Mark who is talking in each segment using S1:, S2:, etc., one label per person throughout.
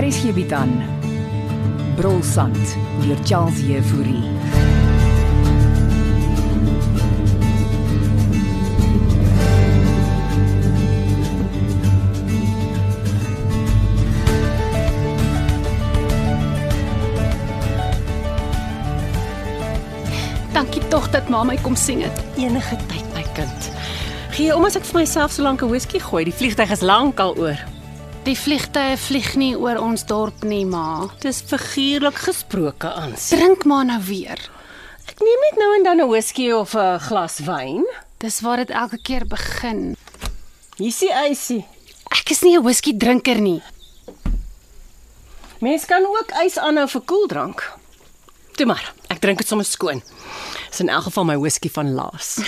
S1: Hier is hierby dan. Brolsand deur Charles Jefouri.
S2: Dankie tog dat ma my kom sien het.
S3: enige tyd, my kind. Gee om as ek vir myself so lank 'n whisky gooi, die vliegtyg is lank al oor.
S2: Die vliegtye vlieg nie oor ons dorp nie, ma.
S3: Dis figuurlik gesproke aans.
S2: Drink maar nou weer.
S3: Ek neem net nou en dan 'n whisky of 'n glas wyn.
S2: Dis waar dit elke keer begin.
S3: Hier is die ysie.
S2: Ek is nie 'n whisky drinker nie.
S3: Mens kan ook ys aanhou vir koeldrank. Toe maar, ek drink dit sommer skoon. Dis in elk geval my whisky van laas.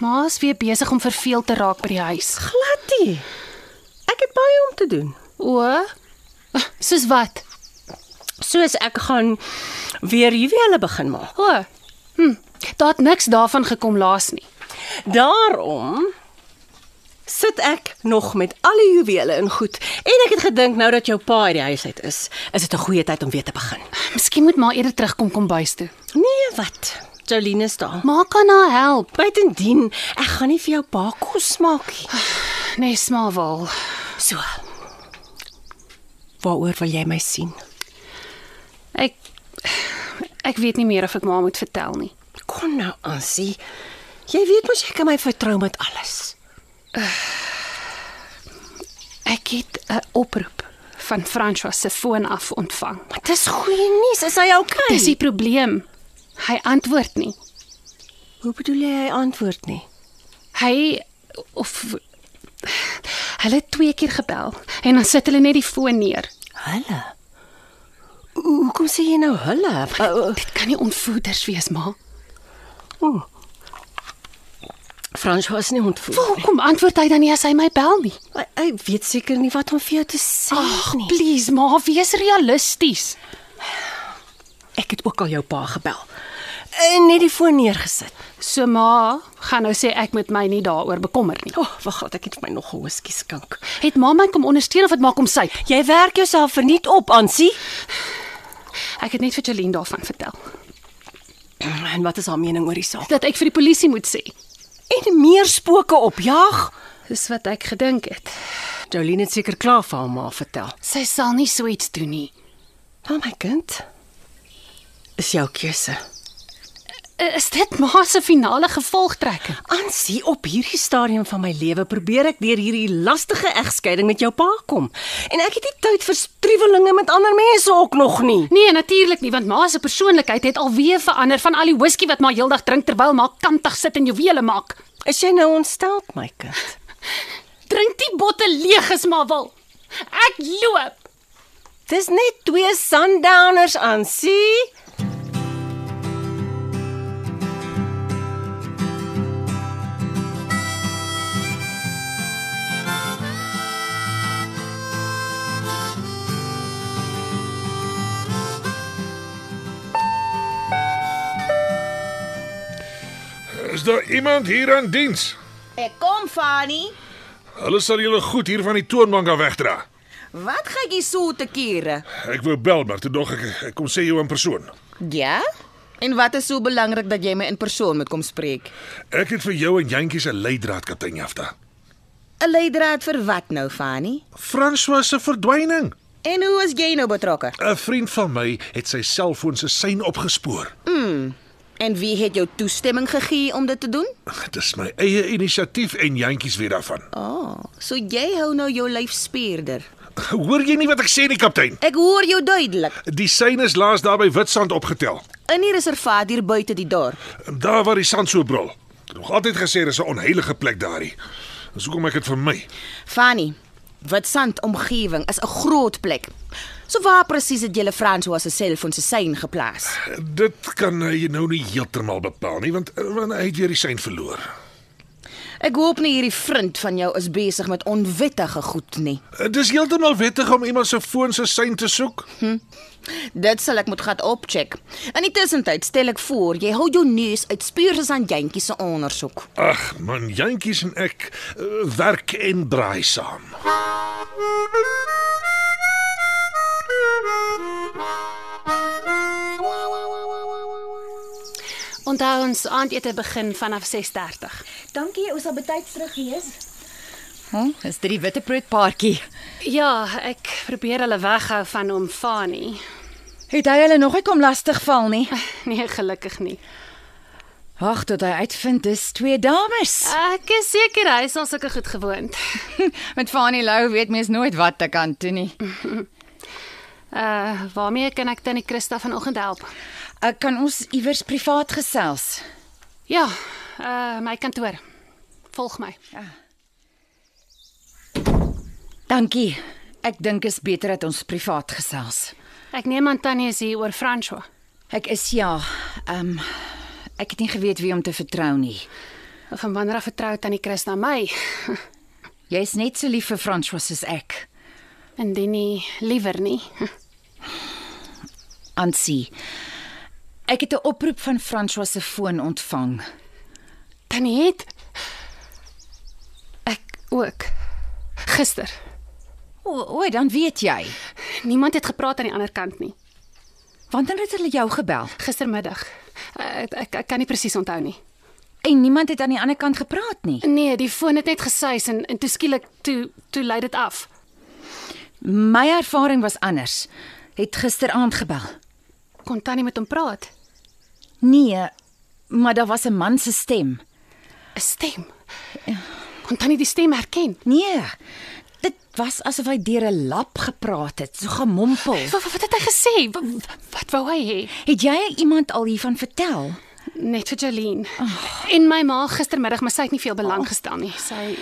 S2: Ma's weer besig om verveel te raak by die huis.
S3: Gladie. Ek het baie om te doen.
S2: O, soos wat?
S3: Soos ek gaan weer juwele begin maak.
S2: O. Hm, daar het niks daarvan gekom laas nie.
S3: Daarom sit ek nog met al die juwele in goed en ek het gedink nou dat jou pa uit die huis uit is, is dit 'n goeie tyd om weer te begin.
S2: Miskien moet ma eerder terugkom kom bys toe.
S3: Nee, wat? Jolene is daar.
S2: Ma kan haar help,
S3: Buitendien, ek gaan nie vir jou pa kos maak nie.
S2: nee, Smawal.
S3: So. Waaroor wil jy my sien?
S2: Ek ek weet nie meer of ek ma moet vertel nie.
S3: Kom nou, Ansie. Jy weet mos jy kan my vertrou met alles.
S2: Ek het 'n oproep van François se foon af ontvang.
S3: Maar dis goeie nuus, is hy okay?
S2: Dis die probleem. Hy antwoord nie.
S3: Hoe bedoel jy hy antwoord nie?
S2: Hy of hulle het twee keer gebel en dan sit hulle net die foon neer.
S3: Hulle. Hoekom sê jy nou hulle? Uh,
S2: Dit kan nie ontvoerders wees, ma.
S3: François is nie ontvoer.
S2: Hoekom antwoord hy dan nie as hy my bel nie?
S3: Hy, hy weet seker nie wat om vir jou te sê
S2: Ag, please, ma, wees realisties.
S3: Ek het ook al jou pa gebel. En net die foon neergesit.
S2: So ma gaan nou sê ek moet my nie daaroor bekommer nie.
S3: O, oh, wag, God, ek het vir my nog 'n whisky skink.
S2: Het ma my kom ondersteun of het maak om sy?
S3: Jy werk jouself verniet op, Ansie.
S2: Ek het net vir Jolien daarvan vertel
S3: En wat is haar mening oor die saak?
S2: dat ek vir die polisie moet sê.
S3: En meer spooke opjag.
S2: Dis wat ek gedink het.
S3: Jolene het seker klaar vir haar ma vertel.
S2: Sy sal nie so iets doen nie.
S3: Maar my kind, is jou keuse.
S2: Is dit ma se finale gevolgtrekking?
S3: Ansie, op hierdie stadium van my lewe probeer ek deur hierdie lastige egskeiding met jou pa kom. En ek het nie tyd vir struwelinge met ander mense ook nog nie.
S2: Nee, natuurlik nie, want ma se persoonlikheid het alweer verander van al die whisky wat ma heeldag drink terwyl ma kantig sit en juwele maak.
S3: Is jy nou ontstel, my kind?
S2: Drink die botte leeg as ma wil. Ek loop.
S3: Dis net twee sundowners aan, sien?
S4: Is daar iemand hier aan diens?
S5: Ek kom, Fanny.
S4: Hulle sal julle goed hier van die toonbank af wegdra.
S5: Wat gaan jy so te kere?
S4: Ek wou bel, maar toe dog ek ek kom sê jou in persoon.
S5: Ja? En wat is so belangrik dat jy my in persoon moet kom spreek?
S4: Ek het vir jou en Jantjie se leidraad kaptein Jafta.
S5: 'n Leidraad vir wat nou, Fanny?
S4: François se verdwyning.
S5: En hoe is jy nou betrokke?
S4: 'n Vriend van my het sy selfoon se sein opgespoor.
S5: En wie het jou toestemming gegee om dit te doen?
S4: Dit is my eie inisiatief en Jantjie se weer daarvan.
S5: O, oh, so jy hou nou jou lyf spierder.
S4: Hoor jy nie wat ek sê nie, kaptein?
S5: Ek hoor jou duidelik.
S4: Die sein is laas daar by Witstrand opgetel,
S5: In die reservaat hier buite die dorp.
S4: Ehm, daar waar die sand so brul. Ek het Nog altyd gesê dis 'n onheilige plek daardie. Dis hoekom ek dit vermy.
S5: Fanny, wat sand omgewing is 'n groot plek. So waar presies het jy François se selfoon se sein geplaas?
S4: eh, Dit kan hy nou nie heeltemal bepaal nie want, want hy het weer die sein verloor.
S5: Ek hoop nie hierdie vriend van jou is besig met onwettige goed nie.
S4: Eh, Dis heeltemal wettig om iemand se foon se sein te soek.
S5: Dit sal ek moet gaan opcheck. In die tussentyd stel ek voor jy hou jou neus uit speursels aan jentjie se ondersoek.
S4: Ag man, jantjies en ek eh, werk en braai saam.
S2: Onthou ons aandete begin vanaf 6:30.
S6: Dankie, ons sal betyds terug wees.
S7: Hm, is dit die witbroodpaartjie?
S2: Ja, ek probeer hulle weghou van hom Fani.
S7: Het hy hulle nog nie kom lastigval nie?
S2: Nee, gelukkig nie.
S7: Ag, tot hy uitvind dis twee dames.
S2: Ek is seker hy is al sulke goed gewoond.
S7: Met Fanny Lou weet mens nooit wat te kan doen nie.
S2: Uh, waarmee kan ek tannie Christa vanoggend help?
S7: Ek kan ons iewers privaat gesels.
S2: Ja, uh my kantoor. Volg my.
S7: Dankie. Ek dink is beter dat ons privaat gesels.
S2: Ek neem aan tannie is hier oor François.
S7: Ek is ja, ehm um, ek het nie geweet wie om te vertrou nie.
S2: Of van wanneer af vertrou tannie Christa my?
S7: Jy's net so lief vir François soos ek.
S2: Indien nie liewer nie.
S7: Ansie. Ek het 'n oproep van François se foon ontvang.
S2: Tannie het ek ook gister.
S7: O, o, dan weet jy.
S2: Niemand het gepraat aan die ander kant nie.
S7: Wanneer het hulle jou gebel?
S2: Gistermiddag. Uh, ek, ek ek kan nie presies onthou nie.
S7: En niemand het aan die ander kant gepraat nie.
S2: Nee, die foon het net gesuis en en toe skielik toe toe lei dit af.
S7: My ervaring was anders. Het gisteraand gebel.
S2: Kon tannie met hom praat?
S7: Nee, maar daar was 'n man se stem.
S2: 'n Stem. Kon tannie die stem herken?
S7: Nee. Dit was asof hy deur 'n lap gepraat het, so gemompel.
S2: Wat, wat het hy gesê? Wat, wat wou hy hê?
S7: Het jy iemand al hiervan vertel?
S2: Net vir Jolene. Oh. En my ma gistermiddag, maar sy het nie veel belang oh. gestel nie. Sy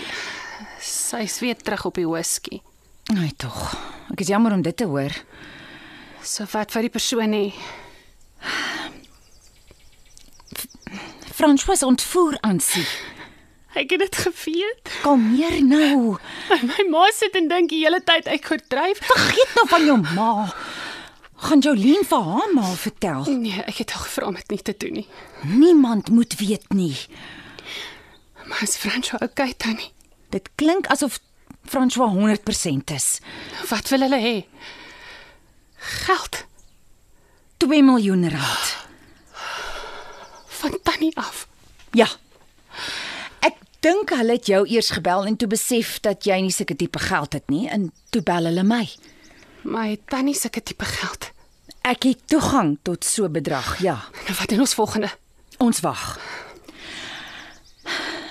S2: sy's weer terug op die hoeskie.
S7: Nee tog. Ek is jammer om dit te hoor.
S2: So wat vir die persoon hê?
S7: François ontvoer aansie.
S2: Ek het dit geweet.
S7: Kalmeer nou.
S2: My ma sit en dink die hele tyd ek gedryf.
S7: Vergeet nou van jou ma. Gaan Jolien vir haar ma vertel.
S2: Nee, ek het haar gevra om dit nie te doen nie.
S7: Niemand moet weet nie.
S2: Maar is Fransjo okay tannie?
S7: Dit klink asof François 100% is.
S2: Wat wil hulle hê? Geld
S7: 2 miljoen rand.
S2: van tannie af.
S7: Ja. Ek dink hulle het jou eers gebel en toe besef dat jy nie sulke tipe geld het nie en toe bel hulle my.
S2: My tannie sulke tipe geld.
S7: Ek het toegang tot so bedrag, ja.
S2: Nou wat doen ons volgende?
S7: Ons wag.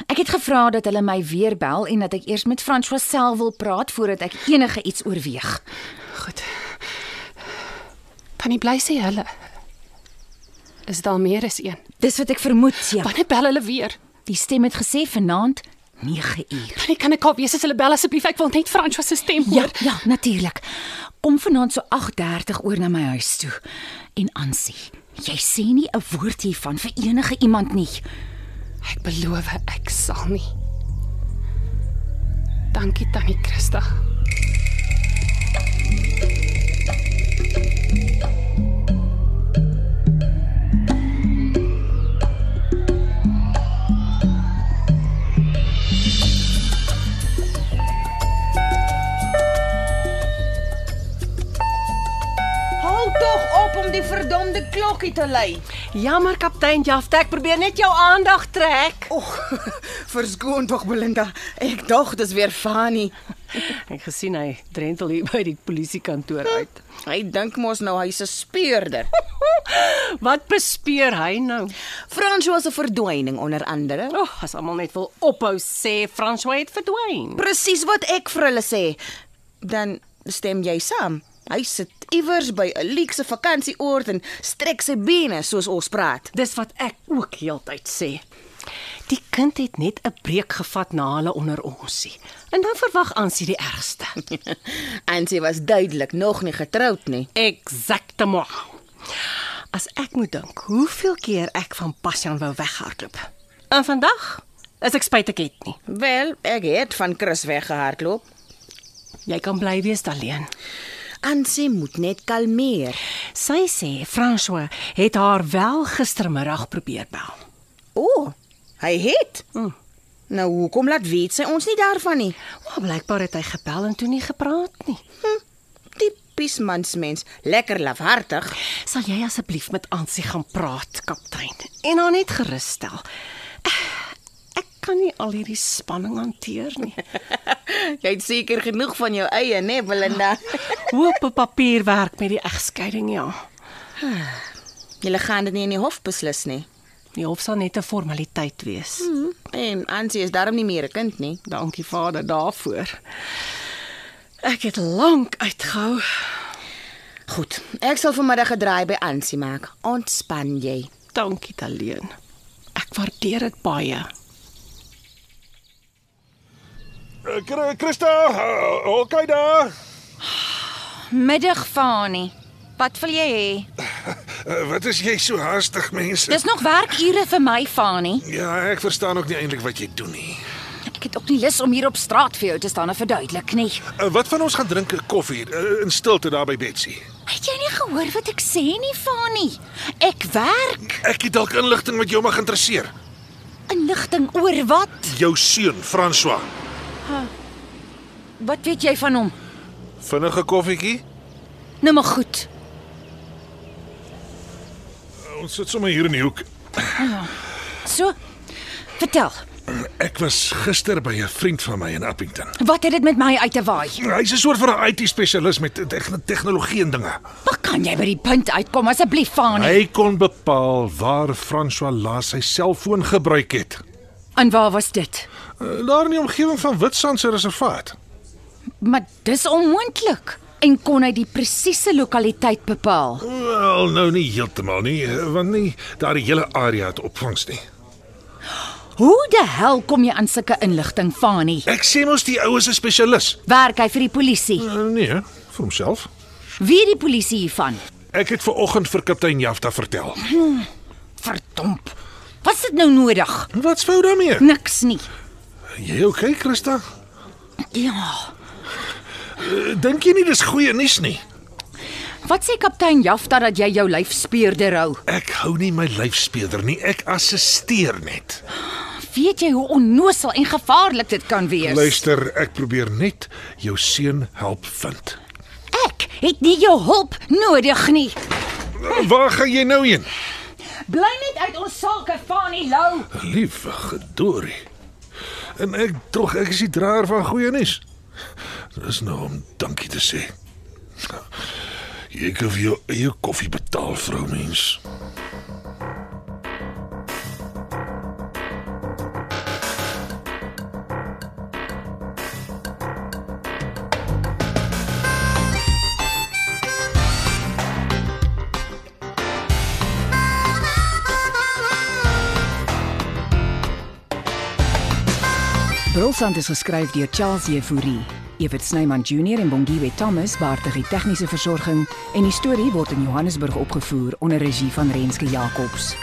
S7: Ek het gevra dat hulle my weer bel en dat ek eers met François self wil praat voordat ek enige iets oorweeg.
S2: Goed. Tannie bly sê hulle. Is daar meer as een?
S7: Dis wat ek vermoed, ja.
S2: Wanneer bel hulle weer?
S7: Die stem het gesê vanaand 9 uur.
S2: Tannie kan ek haar weet as hulle bel asseblief. Ek wil net Fransjo se stem
S7: Ja,
S2: hoor.
S7: ja, natuurlik. Kom vanaand so 8:30 oor na my huis toe. En Ansie, jy sê nie 'n woord hiervan vir enige iemand nie.
S2: Ek beloof ek sal nie. Dankie tannie Christa.
S5: Hou tog op om die verdomde klokkie te lei.
S3: Jammer kaptein Jafta, ek probeer net jou aandag trek.
S5: Och, verskoon tog Belinda. Ek dog dis weer Fanny.
S3: Ek gesien hy drentel hier by die polisiekantoor uit.
S5: Hy dink mos nou hy's 'n speurder.
S3: Wat bespeer hy nou?
S5: François se verdwyning onder andere.
S3: O, oh, as almal net wil ophou sê François het verdwyn.
S5: Presies wat ek vir hulle sê. Dan stem jy saam. Hy sit iewers by 'n luukse vakansieoord en strek sy bene soos ons praat.
S3: Dis wat ek ook heeltyd sê. Die kind het net 'n breek gevat na hulle onder onsie. En dan verwag Ansie die ergste.
S5: Ansie was duidelik nog nie getroud nie.
S3: Exactement. As ek moet dink, hoeveel keer ek van Bastian wou weghardloop. En vandag as ek spyt ek het nie.
S5: Wel, ek het van Chris weggehardloop.
S3: Jy kan bly wees alleen.
S5: Ansie moet net kalmeer.
S3: Sy sê François het haar wel gistermiddag probeer bel.
S5: O, oh, hy het.
S3: Mm.
S5: Nou hoekom laat weet sy ons nie daarvan nie?
S3: Maar blykbaar het hy gebel en toe nie gepraat nie.
S5: Tipies mansmens, lekker lafhartig.
S3: Sal jy asseblief met Ansie gaan praat, kaptein, en haar net gerus stel. Ek kan nie al hierdie spanning hanteer nie.
S5: Jy het seker genoeg van jou eie, né, nee, Belinda?
S3: Hoop op papierwerk met die egskeiding, ja.
S5: Julle gaan dit nie in die hof beslis nie.
S3: Die hof sal net 'n formaliteit wees.
S5: En Ansie is darm nie meer 'n kind nie.
S3: Dankie Vader daarvoor. Ek het lank uitgehou.
S5: Goed, ek sal vanmiddag 'n draai by Ansie maak. Ontspan jy.
S3: Dankie Taleen. Ek waardeer dit baie.
S4: Uh, Christa, uh, okay daar.
S7: Middag Fani. Wat wil jy hê?
S4: Uh, wat is jy so haastig mense?
S7: Dis nog werkure vir my Fani.
S4: Ja, ek verstaan ook nie eintlik wat jy doen nie.
S7: Ek het ook nie lus om hier op straat vir jou te staan en verduidelik nie.
S4: Uh, wat van ons gaan drink 'n koffie uh, in stilte daar by Betsy?
S7: Het jy nie gehoor wat ek sê nie Fani? Ek werk
S4: Ek het dalk inligting wat jou mag interesseer.
S7: inligting oor wat?
S4: Jou seun, François.
S7: Wat weet jy van hom?
S4: Vinnige koffietjie?
S7: Nou maar goed.
S4: Uh, ons sit sommer hier in die hoek.
S7: So, vertel,
S4: Ek was gister by 'n vriend van my in Appington.
S7: wat het dit met my uit te waai?
S4: Hy's 'n soort van 'n IT-spesialis met tegn- tegnologie en dinge.
S7: Wat kan jy by die punt uitkom asseblief Fani?
S4: Hy kon bepaal waar François laas sy selfoon gebruik het.
S7: En waar was dit?
S4: Uh, Daar in die omgewing van Witstrand se reservaat.
S7: Maar dis onmoontlik. En kon hy die presiese lokaliteit bepaal?
S4: Wel, nou nie heeltemal nie, eh, want nie daardie hele area het opvangs nie.
S7: Hoe die hel kom jy aan sulke inligting, Fani?
S4: Ek sê mos die ou is 'n spesialis.
S7: Werk hy vir die polisie?
S4: Uh, nee, hè, vir homself.
S7: Wie het die polisie hiervan?
S4: Ek het ver oggend vir kaptein Jafta vertel.
S7: Verdomp. Was dit nou nodig?
S4: Wat's fout daarmee?
S7: Niks nie.
S4: Jy okay, Christa?
S7: Ja.
S4: Uh, Dink jy nie dis goeie nuus nie?
S7: Wat sê kaptein Jafta dat jy jou lyf speerder hou?
S4: Ek hou nie my lyfspeeder nie, ek assisteer net.
S7: Weet jy hoe onnosel en gevaarlik dit kan wees?
S4: Luister, ek probeer net jou seun help vind.
S7: Ek het nie jou hulp nodig nie.
S4: Uh, Waar gaan jy nou heen?
S7: Bly net uit ons sake, Fani Lou.
S4: Liewe gedorie. En ek tog ek is die draer van goeie nuus. Dis nou om dankie te sê. Jy kan vir jou eie koffie betaal, vrou mens.
S1: Brolsand is geskryf deur Charles Jefouri. Evert Snyman Junior en Bongwe Thomas baartig die tegniese versorging en die storie word in Johannesburg opgevoer onder regie van Renske Jacobs.